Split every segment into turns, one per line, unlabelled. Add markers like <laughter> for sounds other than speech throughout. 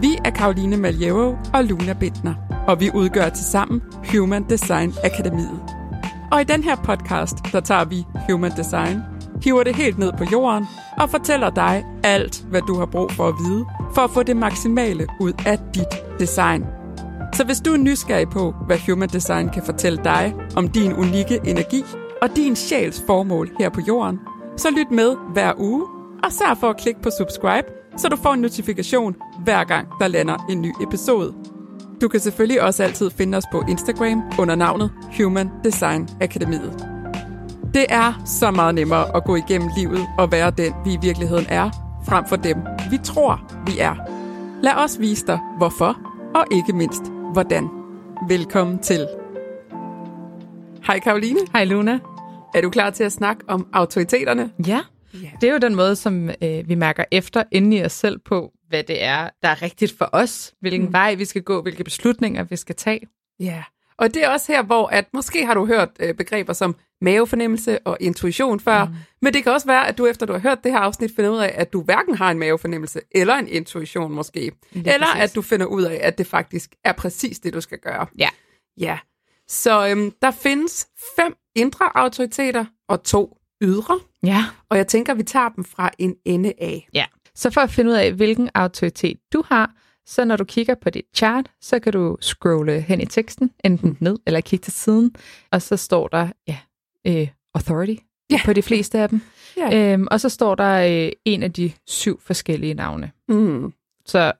Vi er Karoline Maljevo og Luna Bittner, og vi udgør tilsammen Human Design Akademiet. Og i den her podcast, der tager vi Human Design, hiver det helt ned på jorden og fortæller dig alt, hvad du har brug for at vide, for at få det maksimale ud af dit design. Så hvis du er nysgerrig på, hvad Human Design kan fortælle dig om din unikke energi og din sjæls formål her på jorden, så lyt med hver uge, og sørg for at klikke på subscribe, så du får en notifikation hver gang, der lander en ny episode. Du kan selvfølgelig også altid finde os på Instagram under navnet Human Design Akademiet. Det er så meget nemmere at gå igennem livet og være den, vi i virkeligheden er, frem for dem, vi tror, vi er. Lad os vise dig, hvorfor og ikke mindst, hvordan. Velkommen til. Hej Karoline,
Hej Luna.
er du klar til at snakke om autoriteterne?
Ja, det er jo den måde, som øh, vi mærker efter inde i os selv på, hvad det er, der er rigtigt for os, hvilken mm. vej vi skal gå, hvilke beslutninger vi skal tage.
Ja, og det er også her, hvor at måske har du hørt øh, begreber som mavefornemmelse og intuition før, mm. men det kan også være, at du efter du har hørt det her afsnit, finder ud af, at du hverken har en mavefornemmelse eller en intuition måske, eller
præcis.
at du finder ud af, at det faktisk er præcis det, du skal gøre.
Ja.
Ja, så øhm, der findes fem indre autoriteter og to ydre,
Ja.
og jeg tænker, vi tager dem fra en ende af.
ja. Så for at finde ud af, hvilken autoritet du har, så når du kigger på dit chart, så kan du scrolle hen i teksten, enten ned eller kigge til siden, og så står der ja, øh, authority
Ja.
på de fleste af dem.
Ja.
Øhm, og så står der øh, en af de syv forskellige navne.
Mm.
Så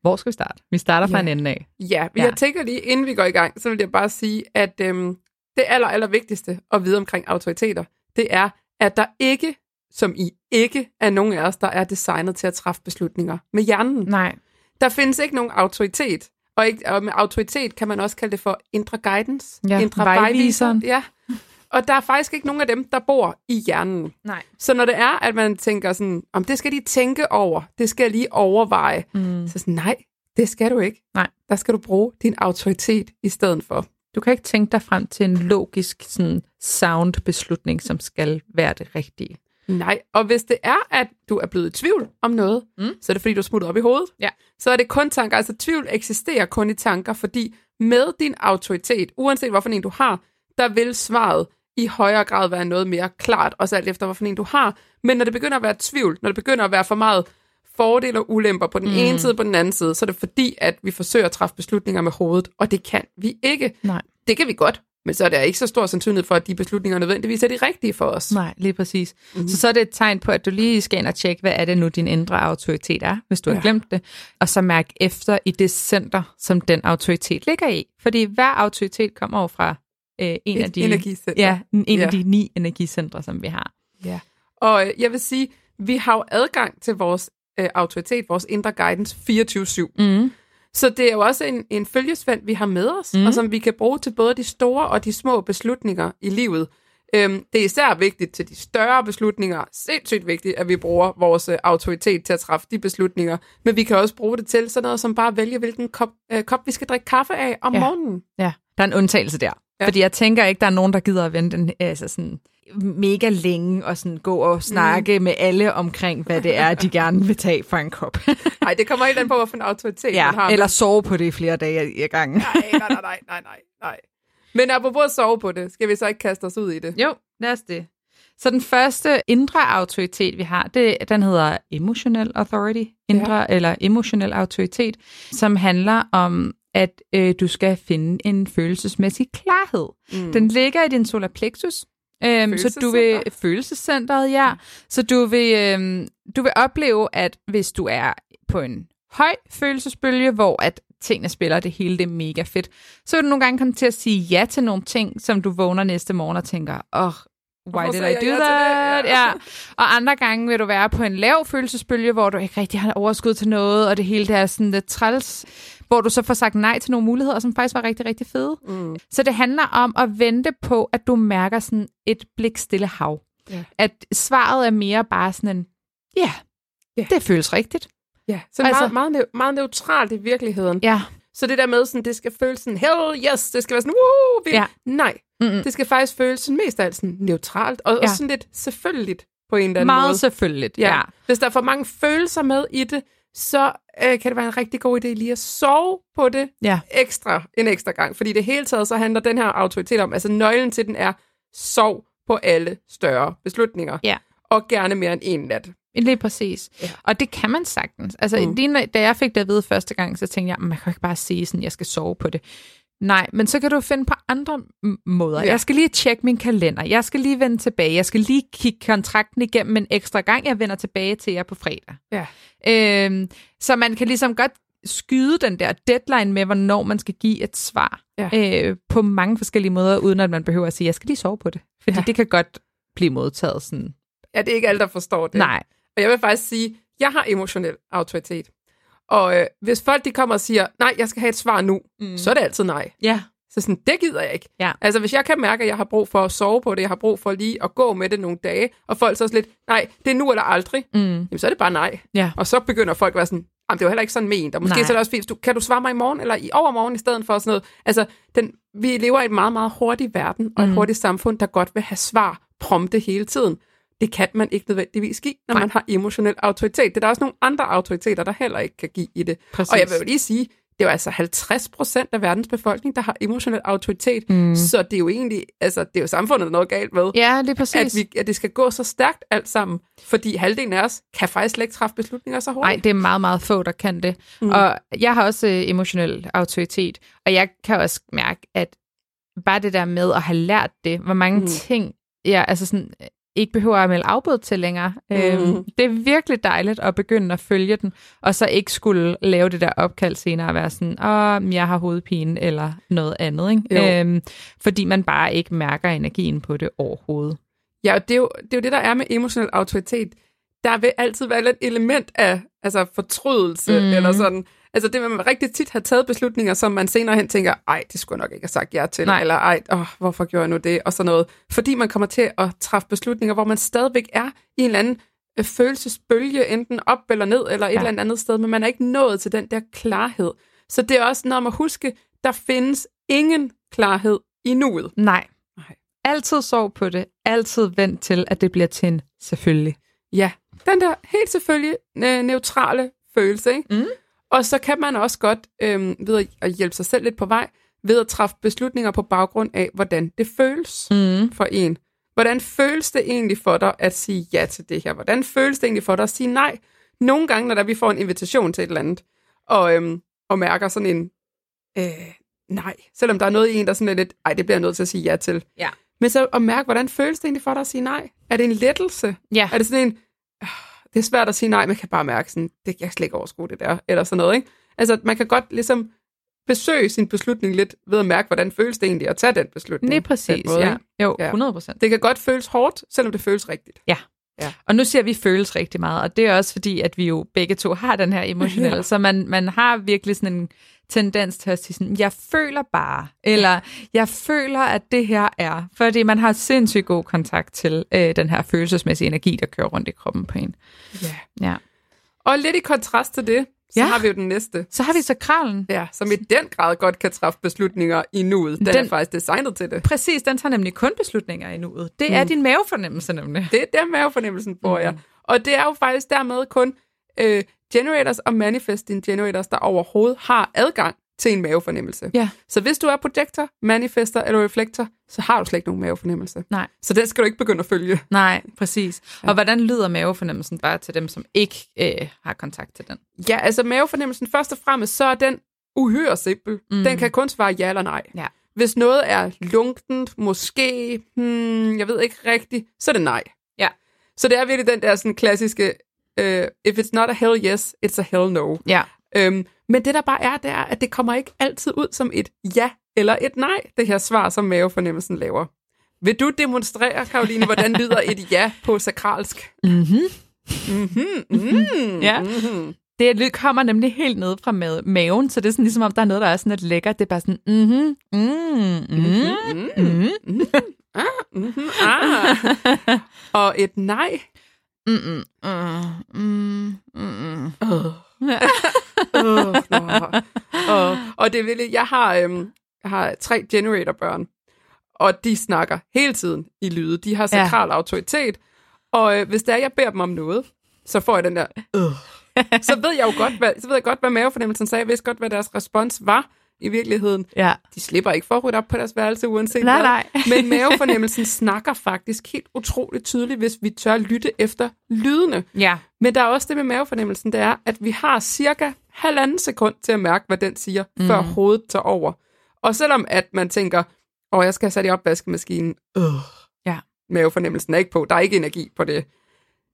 hvor skal vi starte? Vi starter fra
Ja.
en ende af.
Ja, men ja.
Ja.
jeg tænker lige, inden vi går i gang, så vil jeg bare sige, at øhm, det aller, aller vigtigste at vide omkring autoriteter, det er, at der ikke, som I ikke, er nogen af os, der er designet til at træffe beslutninger med hjernen.
Nej.
Der findes ikke nogen autoritet, og, ikke, og med autoritet kan man også kalde det for indre guidance,
Ja,
indre
vejviseren.
Ja, og der er faktisk ikke nogen af dem, der bor i hjernen.
Nej.
Så når det er, at man tænker sådan, om det skal jeg lige tænke over, det skal jeg lige overveje,
Mm.
så sådan, nej, det skal du ikke.
Nej.
Der skal du bruge din autoritet i stedet for.
Du kan ikke tænke dig frem til en logisk, sådan, sound beslutning, som skal være det rigtige.
Nej, og hvis det er, at du er blevet i tvivl om noget, mm. så er det fordi, du er smuttet op i hovedet.
Ja.
Så er det kun tanker, altså tvivl eksisterer kun i tanker, fordi med din autoritet, uanset hvorfor en du har, der vil svaret i højere grad være noget mere klart, også alt efter hvorfor en du har. Men når det begynder at være tvivl, når det begynder at være for meget fordele og ulemper på den mm. ene side og på den anden side, så er det fordi, at vi forsøger at træffe beslutninger med hovedet, og det kan vi ikke.
Nej.
Det kan vi godt, men så er der ikke så stor sandsynlighed for, at de beslutninger nødvendigvis er de rigtige for os.
Nej, lige præcis. Mm. Så så er det et tegn på, at du lige skal ind og tjekke, hvad er det nu, din indre autoritet er, hvis du ja.
Ja.
har glemt det. Og så mærk efter i det center, som den autoritet ligger i. Fordi hver autoritet kommer jo fra øh, en,
Et
af de,
energicenter.
ja, en ja.
Ja.
af de ni energicentre, som vi har.
Ja. Og øh, jeg vil sige, vi har jo adgang til vores øh, autoritet, vores indre guidance 24-7.
Mm.
Så det er jo også en, en følgesvend, vi har med os, mm. og som vi kan bruge til både de store og de små beslutninger i livet. Øhm, det er især vigtigt til de større beslutninger. Sindssygt vigtigt, at vi bruger vores øh, autoritet til at træffe de beslutninger. Men vi kan også bruge det til sådan noget som bare at vælge, hvilken kop, øh, kop vi skal drikke kaffe af om ja.
Ja.
morgenen.
Ja, der er en undtagelse der.
Ja.
Ja. Fordi jeg tænker ikke, der er nogen, der gider at vente en- altså sådan, mega længe og sådan gå og snakke mm. med alle omkring, hvad det er, de gerne vil tage fra en kop.
Nej, det kommer helt an på, hvilken autoritet man har.
ja,
men-
<laughs> eller sove på det i flere dage i gangen.
nej, nej, nej, nej, nej, nej, nej. Men apropos at sove på det, skal vi så ikke kaste os ud i det?
Jo, lad os det. Så den første indre autoritet, vi har, det, den hedder emotional authority, indre ja. eller emotionel autoritet, som handler om, at øh, du skal finde en følelsesmæssig klarhed. Mm. Den ligger i din solar plexus, øhm, så du vil
Følelsescenter.
følelsescentret, ja. Så du vil, øhm, du vil opleve, at hvis du er på en høj følelsesbølge, hvor at tingene spiller det hele, det er mega fedt, så vil du nogle gange komme til at sige ja til nogle ting, som du vågner næste morgen og tænker, åh, oh, why
Hvorfor
did
sagde jeg
I do
ja til det?"
that?
Ja.
Ja. ja. Og andre gange vil du være på en lav følelsesbølge, hvor du ikke rigtig har overskud til noget, og det hele det er sådan lidt træls, hvor du så får sagt nej til nogle muligheder, som faktisk var rigtig, rigtig fede.
Mm.
Så det handler om at vente på, at du mærker sådan et blik stille hav.
Ja.
At svaret er mere bare sådan en, ja, yeah,
Ja.
yeah. det føles rigtigt.
Ja, så
Altså-
altså, meget, meget, neu- meget neutralt i virkeligheden.
Ja,
Så det der med, sådan, det skal føles sådan, hell yes, det skal være sådan, woo, vi,
Ja.
nej.
Mm-mm.
Det skal faktisk føles sådan, mest af alt sådan neutralt, og, ja. og
Ja.
sådan lidt selvfølgeligt på en eller anden
meget
måde.
selvfølgeligt.
Ja. Hvis der er for mange følelser med i det, så øh, kan det være en rigtig god idé lige at sove på det
Ja.
ekstra, en ekstra gang. Fordi i det hele taget, så handler den her autoritet om, altså nøglen til den er, sov på alle større beslutninger.
Ja.
Og gerne mere end en nat.
Lige præcis.
Ja.
Ja. Og det kan man sagtens. Altså,
Mm.
mm. lige, når- da jeg fik det at vide første gang, så tænkte jeg, "Men man kan jo ikke bare sige sådan, jeg skal sove på det. Nej, men så kan du finde på andre m- måder.
Ja.
Ja. Jeg skal lige tjekke min kalender. Jeg skal lige vende tilbage. Jeg skal lige kigge kontrakten igennem en ekstra gang. Jeg vender tilbage til jer på fredag.
Ja.
Øhm, så man kan ligesom godt skyde den der deadline med, hvornår man skal give et svar
Ja.
øh, på mange forskellige måder, uden at man behøver at sige, jeg skal lige sove på det. Fordi
Ja.
ja. det kan godt blive modtaget sådan.
Ja, det er ikke alle, der forstår det.
Nej,
Og jeg vil faktisk sige, jeg har emotionel autoritet. Og øh, hvis folk de kommer og siger, nej, jeg skal have et svar nu, mm.
Mm.
så er det altid nej.
ja.
Så sådan, det gider jeg ikke.
Ja.
Altså, hvis jeg kan mærke, at jeg har brug for at sove på det, jeg har brug for lige at gå med det nogle dage, og folk så også lidt, nej, det er nu eller aldrig,
Mm.
jamen så er det bare nej.
Ja.
Og så begynder folk at være sådan, jamen det var heller ikke sådan ment, og måske
Nej.
så er det også fint, du, kan du svare mig i morgen eller i overmorgen i stedet for og sådan noget. Altså, den, vi lever i en meget, meget hurtig verden, og et
Mm.
hurtigt samfund, der godt vil have svar prompte hele tiden. Det kan man ikke nødvendigvis give, når
Nej.
man har emotionel autoritet. Det er der også nogle andre autoriteter, der heller ikke kan give i det.
Præcis.
Og jeg vil jo lige sige, det er jo altså 50 procent af verdens befolkning, der har emotionel autoritet.
Mhm.
Mm. Så det er jo egentlig, altså det er jo samfundet, der er noget galt med.
Ja, det er præcis.
At, vi, at det skal gå så stærkt alt sammen, fordi halvdelen af os kan faktisk slet ikke træffe beslutninger så hurtigt.
Nej, det er meget, meget få, der kan det.
Mm.
Mm. Og jeg har også øh, emotionel autoritet, og jeg kan også mærke, at bare det der med at have lært det, hvor mange
Mm.
mm. ting jeg altså sådan, øh, ikke behøver at melde afbud til længere. Mm.
Mm.
Øhm, det er virkelig dejligt at begynde at følge den, og så ikke skulle lave det der opkald senere og være sådan, åh, jeg har hovedpine eller noget andet.
Jo.
Ikke? Øhm, fordi man bare ikke mærker energien på det overhovedet.
Ja, og det er, jo, det er jo det, der er med emotionel autoritet. Der vil altid være et element af altså fortrydelse mm.
Mhm.
eller sådan. Altså det, vil man rigtig tit har taget beslutninger, som man senere hen tænker, ej, det skulle jeg nok ikke have sagt ja til, Nej.
Nej.
eller ej, åh, hvorfor gjorde jeg nu det, og sådan noget. Fordi man kommer til at træffe beslutninger, hvor man stadigvæk er i en eller anden øh, følelsesbølge, enten op eller ned, eller et
Ja.
eller andet andet sted, men man er ikke nået til den der klarhed. Så det er også noget om at huske, der findes ingen klarhed i nuet.
Nej.
Nej.
Altid sov på det. Altid vent til, at det bliver til en selvfølgelig.
Ja, den der helt selvfølgelig øh, neutrale følelse. Ikke?
Mm.
Og så kan man også godt, øh, ved at- at hjælpe sig selv lidt på vej, ved at træffe beslutninger på baggrund af, hvordan det føles
Mm.
for en. Hvordan føles det egentlig for dig at sige ja til det her? Hvordan føles det egentlig for dig at sige nej? Nogle gange, når der, vi får en invitation til et eller andet, og, øhm, og mærker sådan en, øh, nej, selvom der er noget i en, der sådan er lidt, ej, det bliver jeg nødt til at sige ja til.
Ja.
Men så at mærke, hvordan føles det egentlig for dig at sige nej? Er det en lettelse?
Ja.
Er det sådan en, "Ah, det er svært at sige nej, man kan bare mærke sådan, det, jeg kan slet ikke overskue det der, eller sådan noget, ikke? Altså, at man kan godt ligesom besøge sin beslutning lidt ved at mærke, hvordan føles det egentlig at tage den beslutning.
Lige
på den
præcis,
måde,
ja.
ikke?
Jo,
Ja.
100 procent.
Det kan godt føles hårdt, selvom det føles rigtigt.
Og nu siger vi føles rigtig meget, og det er også fordi, at vi jo begge to har den her emotionelle,
<laughs> Ja.
ja. så man, man har virkelig sådan en tendens til at sige sådan, jeg føler bare, eller jeg føler, at det her er, fordi man har sindssygt god kontakt til øh, den her følelsesmæssige energi, der kører rundt i kroppen på en.
Ja.
Ja.
Og lidt i kontrast til det, så
Ja.
har vi jo den næste,
Så har vi så kralen.
ja, som i den grad godt kan træffe beslutninger i nuet. Den, den er
Den-
faktisk designet til det.
Præcis, den tager nemlig kun beslutninger i nuet. Det er din mavefornemmelse nemlig.
Det er der mavefornemmelsen får
Mm.
jeg. Og det er jo faktisk dermed kun øh, generators og manifesting generators, der overhovedet har adgang til en mavefornemmelse.
Ja.
Så hvis du er projektor, manifester eller reflektor, så har du slet ikke nogen mavefornemmelse.
Nej.
Så den skal du ikke begynde at følge.
Nej, præcis. Og hvordan lyder mavefornemmelsen bare til dem, som ikke øh, har kontakt til den?
Ja, altså mavefornemmelsen først og fremmest, så er den uhyre simpel. Mm. Den kan kun svare ja eller nej.
Ja.
Hvis noget er lungtent, måske, hmm, jeg ved ikke rigtigt, så er det nej.
Ja.
Så det er virkelig den der sådan klassiske, øh, if it's not a hell yes, it's a hell no.
Ja.
Øhm, men det der bare er, det er, at det kommer ikke altid ud som et ja eller et nej, det her svar, som mavefornemmelsen laver. Vil du demonstrere, Karoline, hvordan lyder et ja på sakralsk?
Mm-hmm.
Mm, mm,
Ja.
Mm.
Det lyd kommer nemlig helt ned fra ma- maven, så det er sådan ligesom om, der er noget, der er sådan lidt lækkert. Det er bare sådan, mm-hmm, mm, mm,
Mm.
mm,
Mm-hmm. Ah.
<laughs>
Og et nej.
mm, mm, mm, mm.
Oh, og, og det vil jeg har, øhm, jeg har tre generatorbørn, og de snakker hele tiden i lyde. De har sakral ja. autoritet, og øh, hvis der jeg beder dem om noget, så får jeg den der, øh, så ved jeg jo godt, hvad, så ved jeg godt, hvad mavefornemmelsen sagde. Jeg vidste godt, hvad deres respons var i virkeligheden.
Ja.
De slipper ikke for at rydde op på deres værelse, uanset
Nej,
hvad.
nej.
Men mavefornemmelsen snakker faktisk helt utroligt tydeligt, hvis vi tør lytte efter lydene.
Ja.
Men der er også det med mavefornemmelsen, det er, at vi har cirka halvanden sekund til at mærke, hvad den siger, mm.
Mhm.
før hovedet tager over. Og selvom at man tænker, åh, jeg skal have sat i opvaskemaskinen, øh,
Ja.
mavefornemmelsen er ikke på, der er ikke energi på det,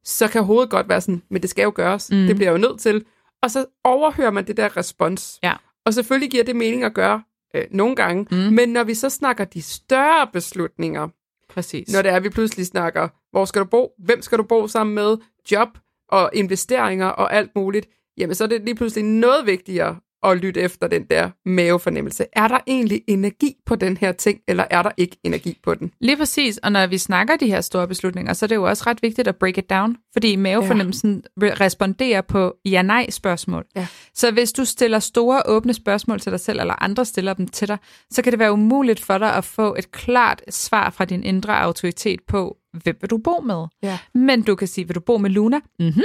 så kan hovedet godt være sådan, men det skal jo gøres,
Mhm.
mm. det bliver jeg jo nødt til. Og så overhører man det der respons.
Ja. Mhm.
Og selvfølgelig giver det mening at gøre øh, nogle gange, mm. men når vi så snakker de større beslutninger,
Præcis.
når det er, at vi pludselig snakker, hvor skal du bo, hvem skal du bo sammen med, job og investeringer og alt muligt, jamen så er det lige pludselig noget vigtigere at lytte efter den der mavefornemmelse. Er der egentlig energi på den her ting, eller er der ikke energi på den?
Lige præcis, og når vi snakker de her store beslutninger, så er det jo også ret vigtigt at break it down, fordi mavefornemmelsen ja. responderer på ja-nej-spørgsmål.
Ja.
Så hvis du stiller store åbne spørgsmål til dig selv, eller andre stiller dem til dig, så kan det være umuligt for dig at få et klart svar fra din indre autoritet på, hvem vil du bo med?
Ja.
Men du kan sige, vil du bo med Luna? Mhm.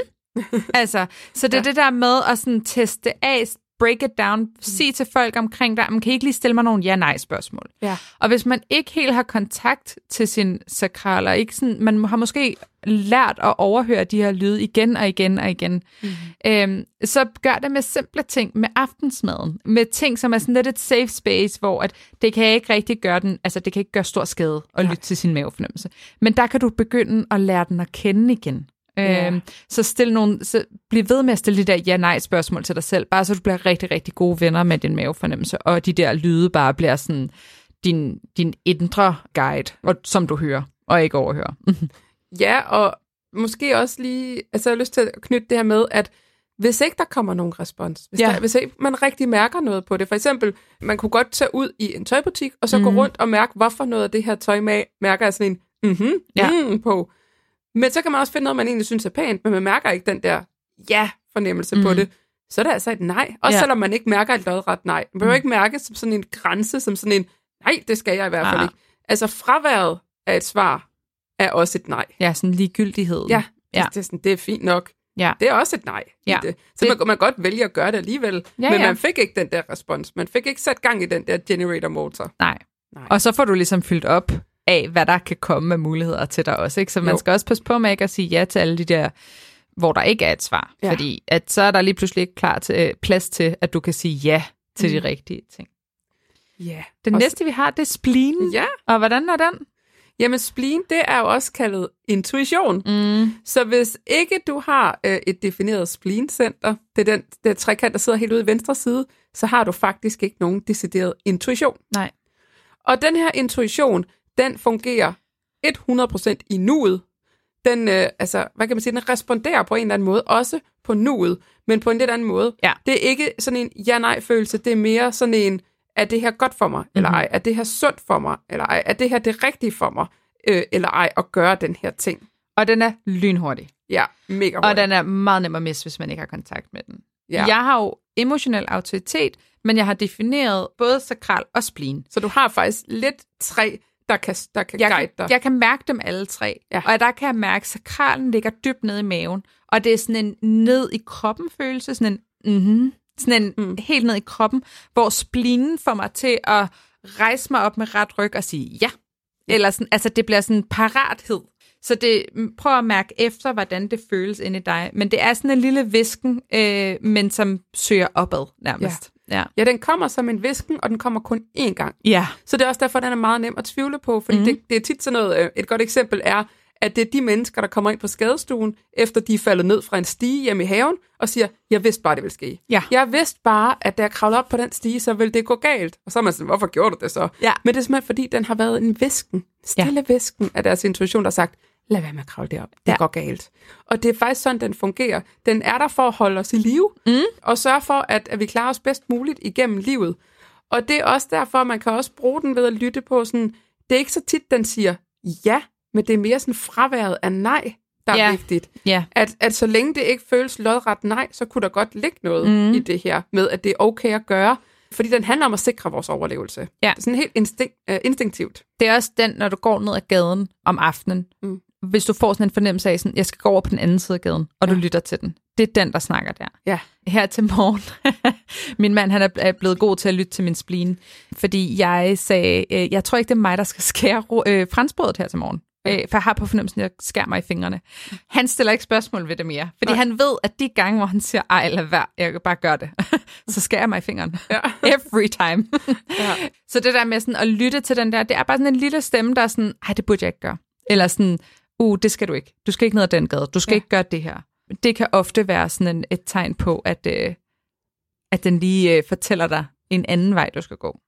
altså, så det er ja. det der med at sådan teste det af, break it down, sige til folk omkring dig, man kan I ikke lige stille mig nogle ja-nej-spørgsmål?
Ja.
Og hvis man ikke helt har kontakt til sin sakral, og ikke sådan, man har måske lært at overhøre de her lyde igen og igen og igen, mm. øhm, så gør det med simple ting, med aftensmaden, med ting, som er sådan lidt et safe space, hvor at det kan ikke rigtig gøre den, altså det kan ikke gøre stor skade at lytte til sin mavefornemmelse. Men der kan du begynde at lære den at kende igen.
Ja.
Øhm, så, stil nogle, så bliv ved med at stille de der ja-nej-spørgsmål til dig selv, bare så du bliver rigtig, rigtig gode venner med din mavefornemmelse, og de der lyde bare bliver sådan din, din indre guide, og, som du hører, og ikke overhører.
Ja, og måske også lige, altså jeg har lyst til at knytte det her med, at hvis ikke der kommer nogen respons, hvis,
Ja.
der, hvis ikke man rigtig mærker noget på det, for eksempel, man kunne godt tage ud i en tøjbutik, og så mm. gå rundt og mærke, hvorfor noget af det her tøj ma- mærker jeg sådan en mhm,
Ja.
ja. mm på. Men så kan man også finde noget, man egentlig synes er pænt, men man mærker ikke den der ja-fornemmelse mm. på det. Så er det altså et nej. Også
Ja.
ja. selvom man ikke mærker et lodret nej. Man behøver mm. ikke mærke som sådan en grænse, som sådan en, nej, det skal jeg i hvert fald
Ah.
ah. ikke. Altså fraværet af et svar er også et nej.
Ja, sådan ligegyldighed.
Ja,
Ja.
ja. Det, er sådan, det er fint nok.
Ja.
Det er også et nej. i
Ja.
Det. Så
Det-
man, man kan godt vælge at gøre det alligevel,
Ja,
ja, men
ja.
ja. man fik ikke den der respons. Man fik ikke sat gang i den der generator-motor.
Nej.
Nej.
Og så får du ligesom fyldt op af, hvad der kan komme af muligheder til dig også. Ikke? Så man jo.
Jo.
skal også passe på med ikke at sige ja til alle de der, hvor der ikke er et svar. Ja.
Ja.
Fordi at så er der lige pludselig ikke klar til, øh, plads til, at du kan sige ja til mm. de rigtige ting.
Ja.
Den
Og
også...
så-
næste, vi har, det er spleen.
Ja,
Og hvordan er den?
jamen spleen, det er jo også kaldet intuition. Mm. Så hvis ikke du har øh, et defineret spleen-center, det er den det er trekant, der sidder helt ude i venstre side, så har du faktisk ikke nogen decideret intuition.
Nej.
Og den her intuition, den fungerer 100% i nuet. Den, øh, altså, hvad kan man sige, den responderer på en eller anden måde, også på nuet, men på en lidt anden måde.
Ja.
Det er ikke sådan en ja-nej-følelse, det er mere sådan en, er det her godt for mig, eller
Mhm.
ej? Er det her sundt for mig, eller ej? Er det her det rigtige for mig, øh, eller ej, at gøre den her ting?
Og den er lynhurtig.
Ja, mega
Og
hurtigt.
den er meget nem at misse, hvis man ikke har kontakt med den.
Ja.
Jeg har jo emotionel autoritet, men jeg har defineret både sakral og spleen.
Så du har faktisk lidt tre, der kan, der kan
jeg
guide
kan,
dig.
jeg kan mærke dem alle tre.
Ja.
Og der kan jeg mærke, at sakralen ligger dybt nede i maven. Og det er sådan en ned i kroppen følelse, sådan en, mm-hmm, sådan en mm. helt ned i kroppen, hvor splinen får mig til at rejse mig op med ret ryg og sige ja. Eller sådan, altså det bliver sådan en parathed. Så det, mm, prøv at mærke efter, hvordan det føles inde i dig. Men det er sådan en lille visken, øh, men som søger opad nærmest. Ja.
Ja, den kommer som en visken, og den kommer kun én gang.
ja.
Så det er også derfor, den er meget nem at tvivle på, fordi mm.
Mhm.
det, det er tit sådan noget, øh, et godt eksempel er, at det er de mennesker, der kommer ind på skadestuen, efter de er faldet ned fra en stige hjemme i haven, og siger, jeg vidste bare, det ville ske.
Ja.
Jeg vidste bare, at da jeg kravlede op på den stige, så ville det gå galt. Og så er man sådan, hvorfor gjorde du det så?
Ja.
Men det er simpelthen, fordi den har været en visken, stille ja. visken af deres intuition, der har sagt, lad være med at kravle derop, det
Ja.
ja. går galt. Og det er faktisk sådan, den fungerer. Den er der for at holde os i live, mm. og sørge for, at, at vi klarer os bedst muligt igennem livet. Og det er også derfor, man kan også bruge den ved at lytte på sådan, det er ikke så tit, den siger ja, men det er mere sådan fraværet af nej, der er
Ja.
vigtigt.
ja.
At, at så længe det ikke føles lodret nej, så kunne der godt ligge noget mm. i det her med, at det er okay at gøre. Fordi den handler om at sikre vores overlevelse. Det er sådan helt instinkt, øh, instinktivt.
Det er også den, når du går ned ad gaden om aftenen. Mm.
Mm.
Hvis du får sådan en fornemmelse af, sådan, jeg skal gå over på den anden side af gaden, og ja. du lytter til den. det er den, der snakker der.
Ja.
Her til morgen. <laughs> min mand, han er- er blevet god til at lytte til min spleen, fordi jeg sagde, øh, jeg tror ikke, det er mig, der skal skære ro- øh, franskbrødet her til morgen. Øh, for jeg har på fornemmelsen, at jeg skærer mig i fingrene. Han stiller ikke spørgsmål ved det mere, fordi Nej. han ved, at de gange, hvor han siger, ej, lad være, jeg kan bare gøre det, <laughs> så skærer jeg mig i fingrene. Ja. <laughs> Every time.
Ja.
Så det der med sådan at lytte til den der, det er bare sådan en lille stemme, der er sådan, ej, det burde jeg ikke gøre. Eller sådan, uh, det skal du ikke. Du skal ikke ned ad den gade. Du skal
Ja.
ja. ikke gøre det her. Det kan ofte være sådan en, et tegn på, at, øh, at den lige øh, fortæller dig en anden vej, du skal gå.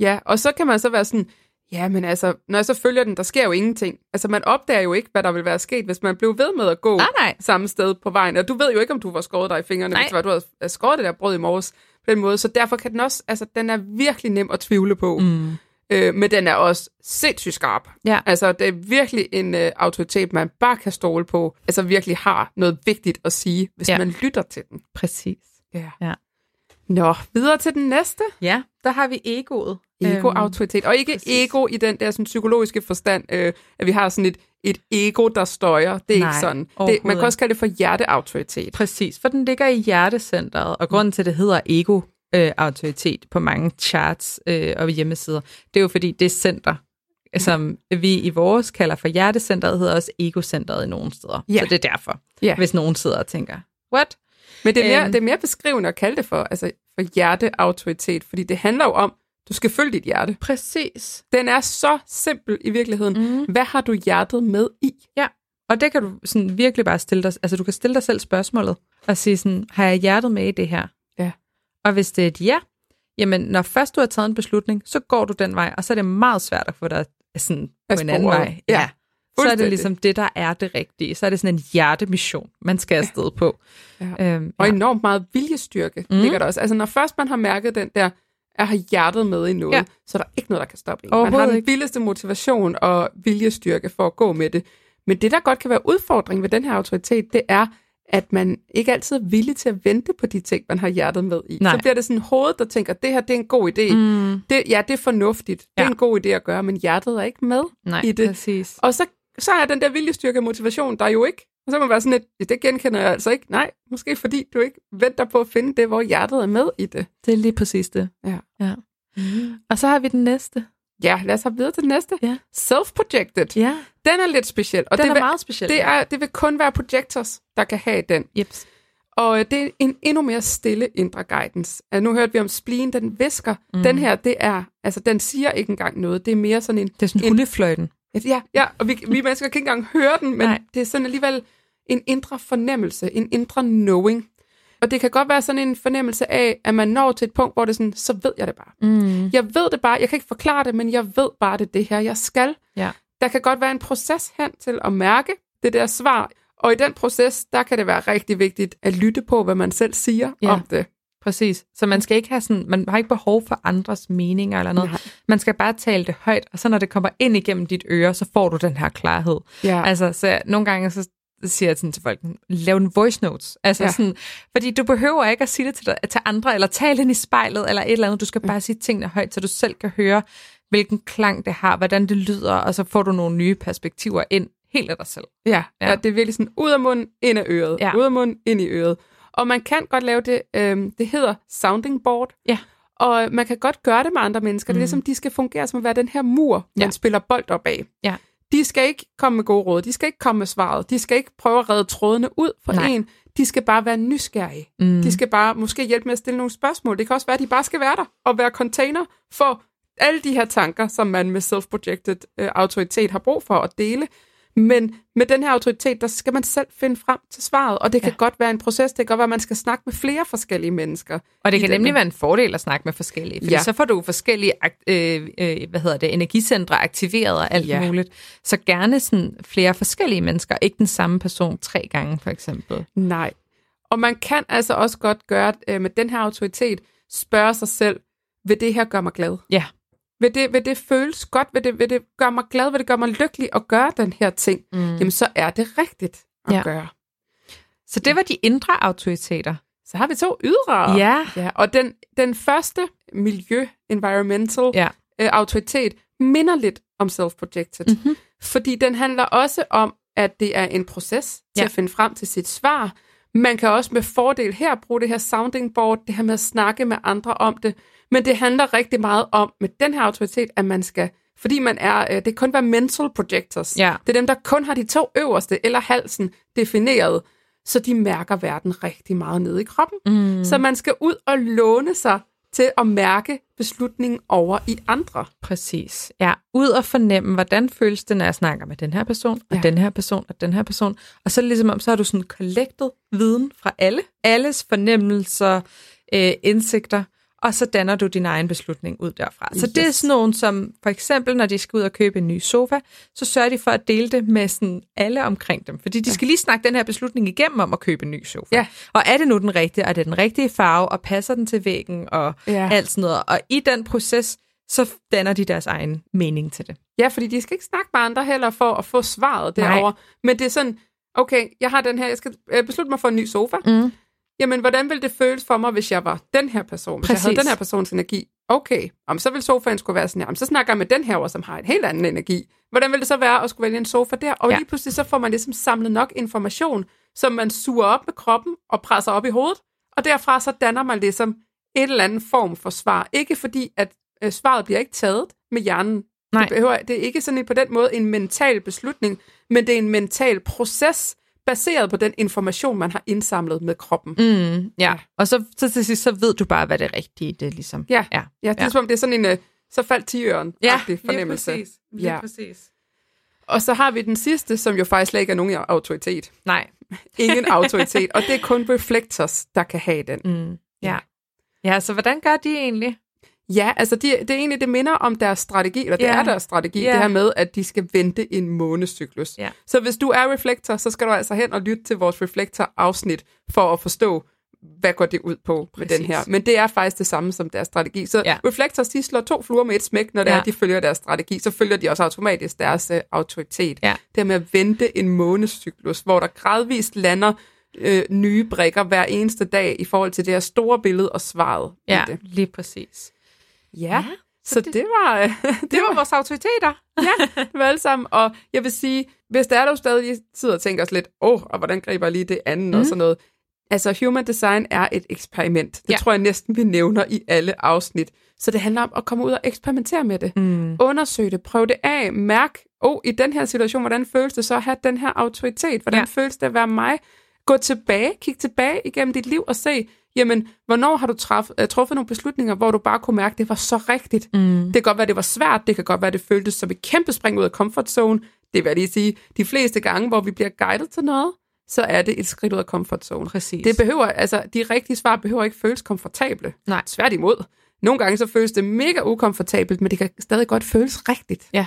Ja, og så kan man så være sådan, ja, men altså, når jeg så følger den, der sker jo ingenting. Altså, man opdager jo ikke, hvad der ville være sket, hvis man blev ved med at gå
Nej, nej.
samme sted på vejen. Og du ved jo ikke, om du var skåret dig i fingrene,
Nej.
hvis det var, du havde øh, skåret det der brød i morges på den måde. Så derfor kan den også, altså, den er virkelig nem at tvivle på.
Mm.
Øh, men den er også sindssygt skarp.
Ja.
Altså, det er virkelig en øh, autoritet, man bare kan stole på. Altså, virkelig har noget vigtigt at sige, hvis
Ja.
man lytter til den.
Præcis.
Ja.
Ja.
Nå, videre til den næste.
Ja, der har vi egoet.
Ego-autoritet. Og ikke
Øhm, præcis.
ego i den der sådan, psykologiske forstand, øh, at vi har sådan et, et ego, der støjer. Det er
Nej,
ikke sådan. Det, man
overhovedet
kan også kalde det for hjerteautoritet.
Præcis, for den ligger i hjertecentret, og grunden til, at det hedder ego-autoritet på mange charts øh, og hjemmesider, det er jo fordi, det center, som vi i vores kalder for hjertecentret, hedder også egocentret i nogle steder.
Ja.
Så det er derfor,
Ja.
hvis nogen sidder og tænker, what?
Men det er, mere,
Øhm.
det er mere beskrivende at kalde det for, altså, for hjerteautoritet, fordi det handler jo om, du skal følge dit hjerte.
Præcis.
Den er så simpel i virkeligheden. Mm. Hvad har du hjertet med i?
Og det kan du sådan virkelig bare stille dig, altså du kan stille dig selv spørgsmålet, og sige sådan, har jeg hjertet med i det her?
Ja.
Og hvis det er et ja, jamen når først du har taget en beslutning, så går du den vej, og så er det meget svært at få dig sådan på
Af
en anden
sporet.
vej.
Ja,
Så er det
fuldstændig.
ligesom det, der er det rigtige. Så er det sådan en hjertemission, man skal afsted på.
Ja.
Øhm,
Og
ja.
enormt meget viljestyrke mm. ligger der også. Altså, når først man har mærket den der, jeg har hjertet med i noget, ja.
Ja.
så er der ikke noget, der kan stoppe en. Man har
Overhovedet
den
ikke.
vildeste motivation og viljestyrke for at gå med det. Men det, der godt kan være udfordring ved den her autoritet, det er, at man ikke altid er villig til at vente på de ting, man har hjertet med i.
Nej.
Så bliver det sådan hovedet, der tænker, det her det er en god idé. Mm. Det, ja, det er fornuftigt. Det er
Ja.
en god idé at gøre, men hjertet er ikke med
Nej,
i det.
præcis.
Og så, så er den der viljestyrke og motivation der jo ikke. Og så må man være sådan lidt, det genkender jeg altså ikke. Nej, måske fordi du ikke venter på at finde det, hvor hjertet er med i det.
Det er lige præcis det.
Ja.
ja. Og så har vi den næste.
Ja, lad os hoppe videre til den næste.
Ja.
Self-projected.
Ja,
Den er lidt speciel. Og
den
det
er
vil,
meget speciel.
det, er, det vil kun være projectors, der kan have den.
Jeps.
Og øh, det er en endnu mere stille indre guidance. Øh, Nu hørte vi om spleen, den visker. Mm. Den her, det er, altså den siger ikke engang noget. Det er mere sådan en
Det er sådan
En-
hundefløjten.
Ja, ja og vi, vi mennesker kan ikke engang høre den, men Nej.
Nej.
det er sådan alligevel en indre fornemmelse, en indre knowing. Og det kan godt være sådan en fornemmelse af, at man når til et punkt, hvor det er sådan, så ved jeg det bare.
Mm.
Jeg ved det bare, jeg kan ikke forklare det, men jeg ved bare, det er det her, jeg skal.
Ja.
Der kan godt være en proces hen til at mærke det der svar, og i den proces, der kan det være rigtig vigtigt at lytte på, hvad man selv siger ja.
Ja.
om det.
Præcis. Så man skal ikke have sådan, man har ikke behov for andres meninger eller noget.
Nej.
Nej. Man skal bare tale det højt, og så når det kommer ind igennem dit øre, så får du den her klarhed.
Ja.
Altså, så jeg- nogle gange så siger jeg sådan til folk, lav en voice notes. Altså
Ja.
ja. sådan, fordi du behøver ikke at sige det til, dig, til andre, eller tale ind i spejlet, eller et eller andet. Du skal
Mm.
bare sige tingene højt, så du selv kan høre, hvilken klang det har, hvordan det lyder, og så får du nogle nye perspektiver ind helt af dig selv.
Ja, ja.
Ja.
ja det er virkelig sådan ud af munden, ind af øret. Ja.
Ja.
Ud af munden, ind i øret. Og man kan godt lave det, øhm, det hedder sounding board.
Ja.
Og øh, man kan godt gøre det med andre mennesker. Mm. Det er ligesom, de skal fungere som at være den her mur, man
Ja.
spiller bold op af.
Ja.
De skal ikke komme med gode råd. De skal ikke komme med svaret. De skal ikke prøve at redde trådene ud for
Nej.
en. De skal bare være nysgerrige. Mm. De skal bare måske hjælpe med at stille nogle spørgsmål. Det kan også være, at de bare skal være der og være container for alle de her tanker, som man med self-projected øh, autoritet har brug for at dele. Men med den her autoritet, der skal man selv finde frem til svaret, og det kan ja. godt være en proces. Det kan godt være, at man skal snakke med flere forskellige mennesker.
Og det
i
kan
den
nemlig være en fordel at snakke med forskellige, fordi
Ja.
ja. så får du forskellige ak- øh, øh, hvad hedder det, energicentre aktiveret og alt
Ja.
ja. muligt. Så gerne sådan flere forskellige mennesker, ikke den samme person tre gange for eksempel.
Nej. Og man kan altså også godt gøre øh, med den her autoritet, spørge sig selv, vil det her gøre mig glad?
Ja,
Vil det, vil det føles godt? Vil det, vil det gøre mig glad? Vil det gøre mig lykkelig at gøre den her ting? Mm. Jamen, så er det rigtigt at ja.
Ja.
gøre.
så det var de indre autoriteter.
Så har vi to ydre.
Ja.
ja og den, den første miljø, environmental,
Ja.
øh, autoritet minder lidt om self-projected. Mm-hmm. Fordi den handler også om, at det er en proces til ja.
Ja.
at finde frem til sit svar, Man kan også med fordel her bruge det her sounding board, det her med at snakke med andre om det. Men det handler rigtig meget om, med den her autoritet, at man skal, fordi man er, øh, det kan kun være mental projectors.
Ja.
Det er dem, der kun har de to øverste eller halsen defineret, så de mærker verden rigtig meget nede i kroppen. Mm. Så man skal ud og låne sig til at mærke beslutningen over i andre.
Præcis. Ja, ud og fornemme, hvordan føles det, når jeg snakker med den her person, og
Ja.
ja. den her person, og den her person. Og så er det ligesom om, så har du sådan collected viden fra alle. Alles fornemmelser, øh, indsigter, og så danner du din egen beslutning ud derfra. Så yes. det er
Yes.
sådan nogen, som for eksempel, når de skal ud og købe en ny sofa, så sørger de for at dele det med sådan alle omkring dem. Fordi de skal lige snakke den her beslutning igennem om at købe en ny sofa.
Ja.
Og er det nu den rigtige, og er det den rigtige farve, og passer den til væggen, og
Ja.
alt sådan noget. Og i den proces, så danner de deres egen mening til det.
Ja, fordi de skal ikke snakke med andre heller for at få svaret
Nej.
derovre. Men det er sådan, okay, jeg har den her, jeg skal øh, beslutte mig for en ny sofa.
Mm.
Jamen, hvordan ville det føles for mig, hvis jeg var den her person? Hvis jeg havde
Præcis.
den her persons energi. Okay, om så ville sofaen skulle være sådan her. Om så snakker jeg med den her over, som har en helt anden energi. Hvordan ville det så være at skulle vælge en sofa der? Og ja.
Ja.
lige pludselig så får man ligesom samlet nok information, som man suger op med kroppen og presser op i hovedet. Og derfra så danner man ligesom et eller andet form for svar. Ikke fordi, at øh, svaret bliver ikke taget med hjernen.
Nej.
Det, behøver, det er ikke sådan en- på den måde en mental beslutning, men det er en mental proces, baseret på den information, man har indsamlet med kroppen.
Mm, ja, og så, så til sidst, så ved du bare, hvad det rigtige det er ligesom.
Ja.
ja.
Ja, det er
Ja.
som om, det er sådan en, øh, så faldt tiøren
ja
fornemmelse.
Lige præcis. Lige
Ja.
ja. præcis.
Og så har vi den sidste, som jo faktisk slet ikke er nogen autoritet.
Nej. <laughs>
Ingen autoritet, og det er kun reflectors, der kan have den.
Mm, ja. ja, så hvordan gør de egentlig?
Ja, altså de, det er egentlig, det minder om deres strategi, eller det
Ja.
er deres strategi,
Ja.
det her med, at de skal vente en månedscyklus.
Ja.
Så hvis du er reflektor, så skal du altså hen og lytte til vores reflektor-afsnit for at forstå, hvad går det ud på Præcis. med den
Præcis.
her. Men det er faktisk det samme som deres strategi. Så ja.
Ja.
reflektors, de slår to fluer med et smæk, når det ja.
Ja.
er, de følger deres strategi. Så følger de også automatisk deres øh, autoritet.
Ja.
Det her med at vente en månedscyklus, hvor der gradvist lander øh, nye brækker hver eneste dag i forhold til det her store billede og svaret. i
Ja,
det.
lige præcis.
ja. Så,
så
det,
det-
det var... <laughs> øh,
Det var vores autoriteter.
ja, <laughs> det var alle sammen. Og jeg vil sige, hvis der er der jo stadig sidder og tænker os lidt, åh, oh, og hvordan griber jeg lige det andet mm. og sådan noget. Altså, human design er et eksperiment. Det ja.
Ja.
tror jeg næsten, vi nævner i alle afsnit. Så det handler om at komme ud og eksperimentere med det.
Mm.
Undersøg det, prøv det af, mærk, åh, oh, i den her situation, hvordan føles det så at have den her autoritet? Hvordan ja.
Ja.
føles det at være mig? Gå tilbage, kig tilbage igennem dit liv og se, jamen, hvornår har du traf, øh, truffet nogle beslutninger, hvor du bare kunne mærke, at det var så rigtigt?
Mm.
Det kan godt være, det var svært. Det kan godt være, det føltes som et kæmpe spring ud af comfort zone. Det vil jeg lige sige. De fleste gange, hvor vi bliver guidet til noget, så er det et skridt ud af comfort zone.
Præcis.
Det behøver, altså, de rigtige svar behøver ikke føles komfortable.
Nej.
Tværtimod. Nogle gange så føles det mega ukomfortabelt, men det kan stadig godt føles rigtigt.
Ja.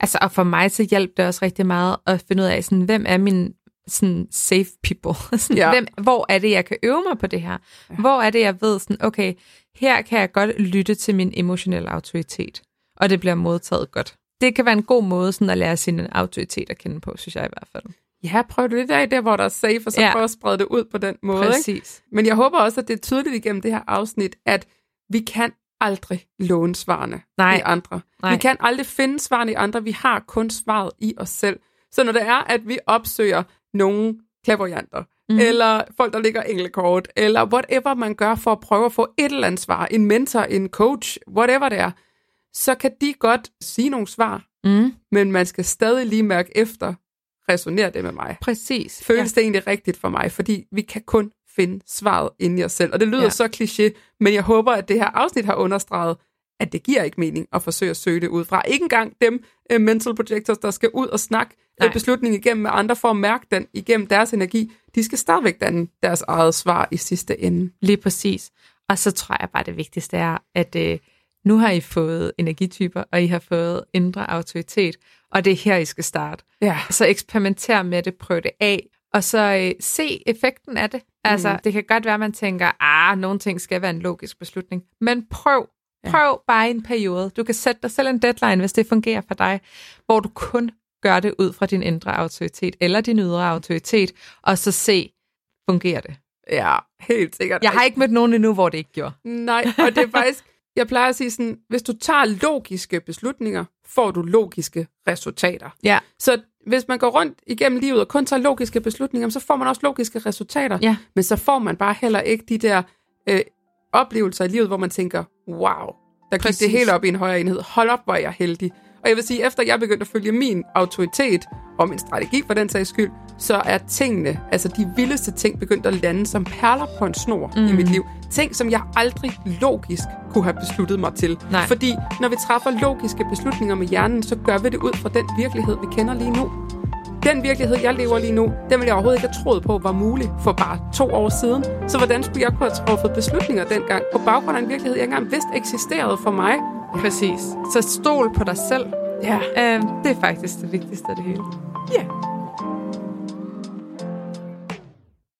Altså, og for mig så hjalp det også rigtig meget at finde ud af, sådan, hvem er min sådan safe people? <laughs> sådan,
Ja.
ja. hvem, hvor er det, jeg kan øve mig på det her? Ja. Hvor er det, jeg ved, sådan, okay, her kan jeg godt lytte til min emotionelle autoritet, og det bliver modtaget godt. Det kan være en god måde sådan, at lære sin autoritet at kende på, synes jeg i hvert fald.
Ja, prøv det lidt af der, hvor der er safe, og så ja.
Ja.
prøv at sprede det ud på den måde. Ikke?
Præcis.
Men jeg håber også, at det er tydeligt igennem det her afsnit, at vi kan aldrig låne svarene
Nej.
i andre.
Nej.
Vi kan aldrig finde svarene i andre. Vi har kun svaret i os selv. Så når det er, at vi opsøger nogle klaverjanter, mm.
Mhm.
eller folk, der ligger englekort, eller whatever man gør for at prøve at få et eller andet svar, en mentor, en coach, whatever det er, så kan de godt sige nogle svar,
Mm.
men man skal stadig lige mærke efter, resonerer det med mig?
Præcis.
føles ja. det egentlig rigtigt for mig? Fordi vi kan kun finde svaret inde i os selv. Og det lyder ja.
Ja.
så kliché, men jeg håber, at det her afsnit har understreget, at det giver ikke mening at forsøge at søge det ud fra. Ikke engang dem uh, mental projectors, der skal ud og snakke uh,
Nej.
beslutningen igennem med andre for at mærke den igennem deres energi. De skal stadigvæk danne deres eget svar i sidste ende.
Lige præcis. Og så tror jeg bare, det vigtigste er, at øh, nu har I fået energityper, og I har fået indre autoritet, og det er her, I skal starte.
Ja,
Så eksperimenter med det, prøv det af, og så øh, se effekten af det. Altså, mm. det kan godt være, at man tænker, ah, nogle ting skal være en logisk beslutning, men prøv. Prøv ja. bare i en periode. Du kan sætte dig selv en deadline, hvis det fungerer for dig, hvor du kun gør det ud fra din indre autoritet eller din ydre autoritet, og så se, fungerer det?
ja, helt sikkert.
Jeg har ikke mødt nogen endnu, hvor det ikke gjorde.
Nej, og det er faktisk, jeg plejer at sige sådan, hvis du tager logiske beslutninger, får du logiske resultater.
Ja,
Så hvis man går rundt igennem livet og kun tager logiske beslutninger, så får man også logiske resultater.
Ja.
Men så får man bare heller ikke de der øh, oplevelser i livet, hvor man tænker, wow, der gik
Præcis.
det helt op i en højere enhed. Hold op, hvor er jeg heldig. Og jeg vil sige, efter jeg begyndte at følge min autoritet og min strategi for den sags skyld, så er tingene, altså de vildeste ting, begyndt at lande som perler på en snor mm. i mit liv. Ting, som jeg aldrig logisk kunne have besluttet mig til.
Nej.
Fordi når vi træffer logiske beslutninger med hjernen, så gør vi det ud fra den virkelighed, vi kender lige nu. Den virkelighed, jeg lever lige nu, den ville jeg overhovedet ikke have troet på var mulig for bare to år siden. Så hvordan skulle jeg kunne have truffet beslutninger dengang på baggrund af en virkelighed, jeg ikke engang vidste eksisterede for mig?
Præcis. Så stol på dig selv.
Ja.
Øh, det er faktisk det vigtigste af det hele.
Ja.